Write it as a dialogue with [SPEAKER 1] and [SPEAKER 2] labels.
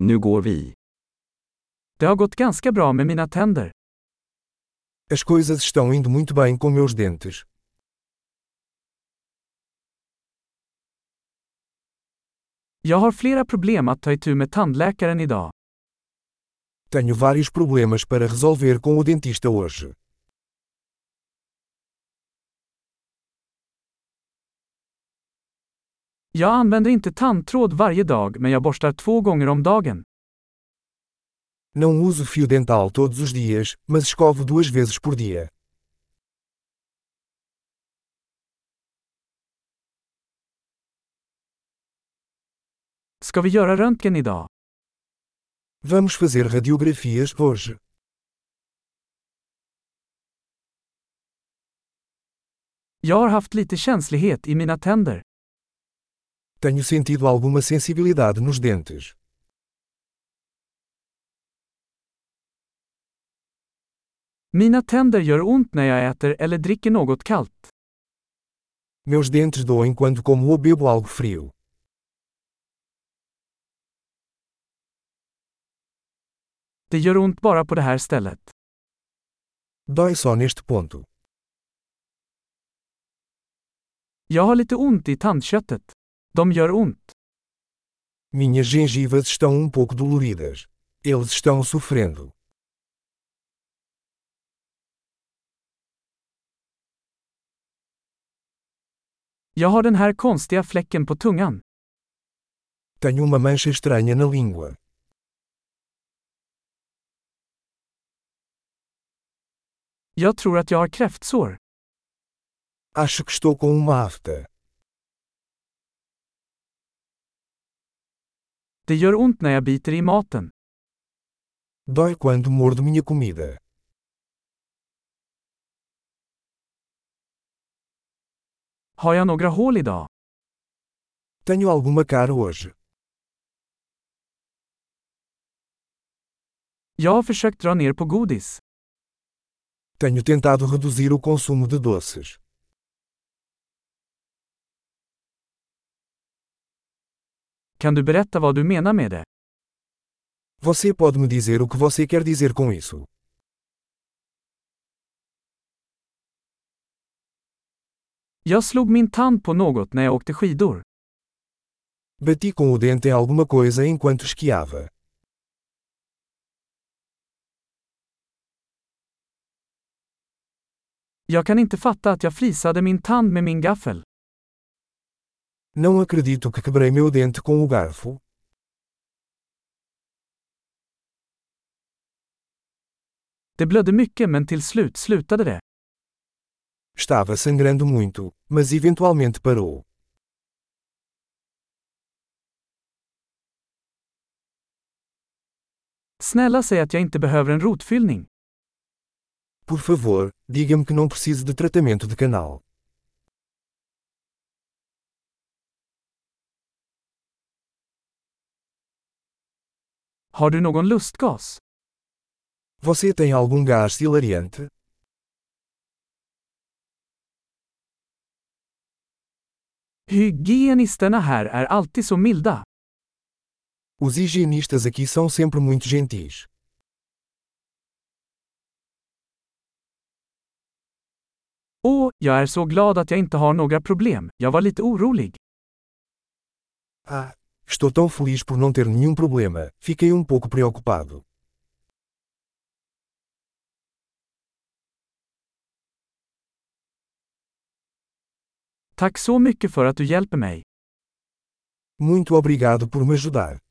[SPEAKER 1] Nu går vi. Det har gått ganska bra med mina tänder.
[SPEAKER 2] As coisas estão indo muito bem com meus dentes.
[SPEAKER 1] Jag har flera problem att ta itu med tandläkaren idag.
[SPEAKER 2] Tenho vários problemas para resolver com o dentista hoje.
[SPEAKER 1] Jag använder inte tandtråd varje dag men jag borstar två gånger om dagen.
[SPEAKER 2] Não uso fio dental todos os dias, mas escovo duas vezes por dia.
[SPEAKER 1] Ska vi göra röntgen idag?
[SPEAKER 2] Vamos fazer radiografias hoje.
[SPEAKER 1] Jag har haft lite känslighet i mina tänder.
[SPEAKER 2] Tenho sentido alguma sensibilidade nos dentes.
[SPEAKER 1] Mina tänder gör ont när jag äter eller dricker något kallt.
[SPEAKER 2] Meus dentes doem quando como ou bebo algo frio.
[SPEAKER 1] Det gör ont bara på det här stället.
[SPEAKER 2] Dói só neste ponto.
[SPEAKER 1] Jag har lite ont i tandköttet. De gör ont.
[SPEAKER 2] Minhas gengivas estão um pouco doloridas. Eles estão sofrendo.
[SPEAKER 1] Jag har den här konstiga fläcken på tungan.
[SPEAKER 2] Tenho uma mancha estranha na língua.
[SPEAKER 1] Jag tror att jag har kräftsår.
[SPEAKER 2] Acho que estou com uma afta.
[SPEAKER 1] Det gör ont när jag biter i maten.
[SPEAKER 2] Dói quando mordo minha comida.
[SPEAKER 1] Har jag några hål idag?
[SPEAKER 2] Tenho alguma cara hoje.
[SPEAKER 1] Jag har försökt dra ner på godis.
[SPEAKER 2] Tenho tentado reduzir o consumo de doces.
[SPEAKER 1] Kan du berätta vad du menar med det?
[SPEAKER 2] Você pode me dizer o que você quer dizer com isso?
[SPEAKER 1] Jag slog min tand på något när jag åkte skidor.
[SPEAKER 2] Bati com o dente em alguma coisa enquanto esquiava.
[SPEAKER 1] Jag kan inte fatta att jag flisade min tand med min gaffel.
[SPEAKER 2] Não acredito que quebrei meu dente com o garfo.
[SPEAKER 1] Det blödde mycket men till slut slutade det.
[SPEAKER 2] Estava sangrando muito, mas eventualmente parou.
[SPEAKER 1] Snälla säg att jag inte behöver en rotfyllning.
[SPEAKER 2] Por favor, diga-me que não preciso de tratamento de canal.
[SPEAKER 1] Har du någon lustgas?
[SPEAKER 2] Você tem algum gás hilariante?
[SPEAKER 1] Hygienisterna här är alltid så milda.
[SPEAKER 2] Os higienistas aqui são sempre muito gentis.
[SPEAKER 1] Åh, jag är så glad att jag inte har några problem. Jag var lite orolig.
[SPEAKER 2] Ah, estou tão feliz por não ter nenhum problema, fiquei um pouco preocupado.
[SPEAKER 1] Tack så mycket för att du hjälper mig.
[SPEAKER 2] Muito obrigado por me ajudar.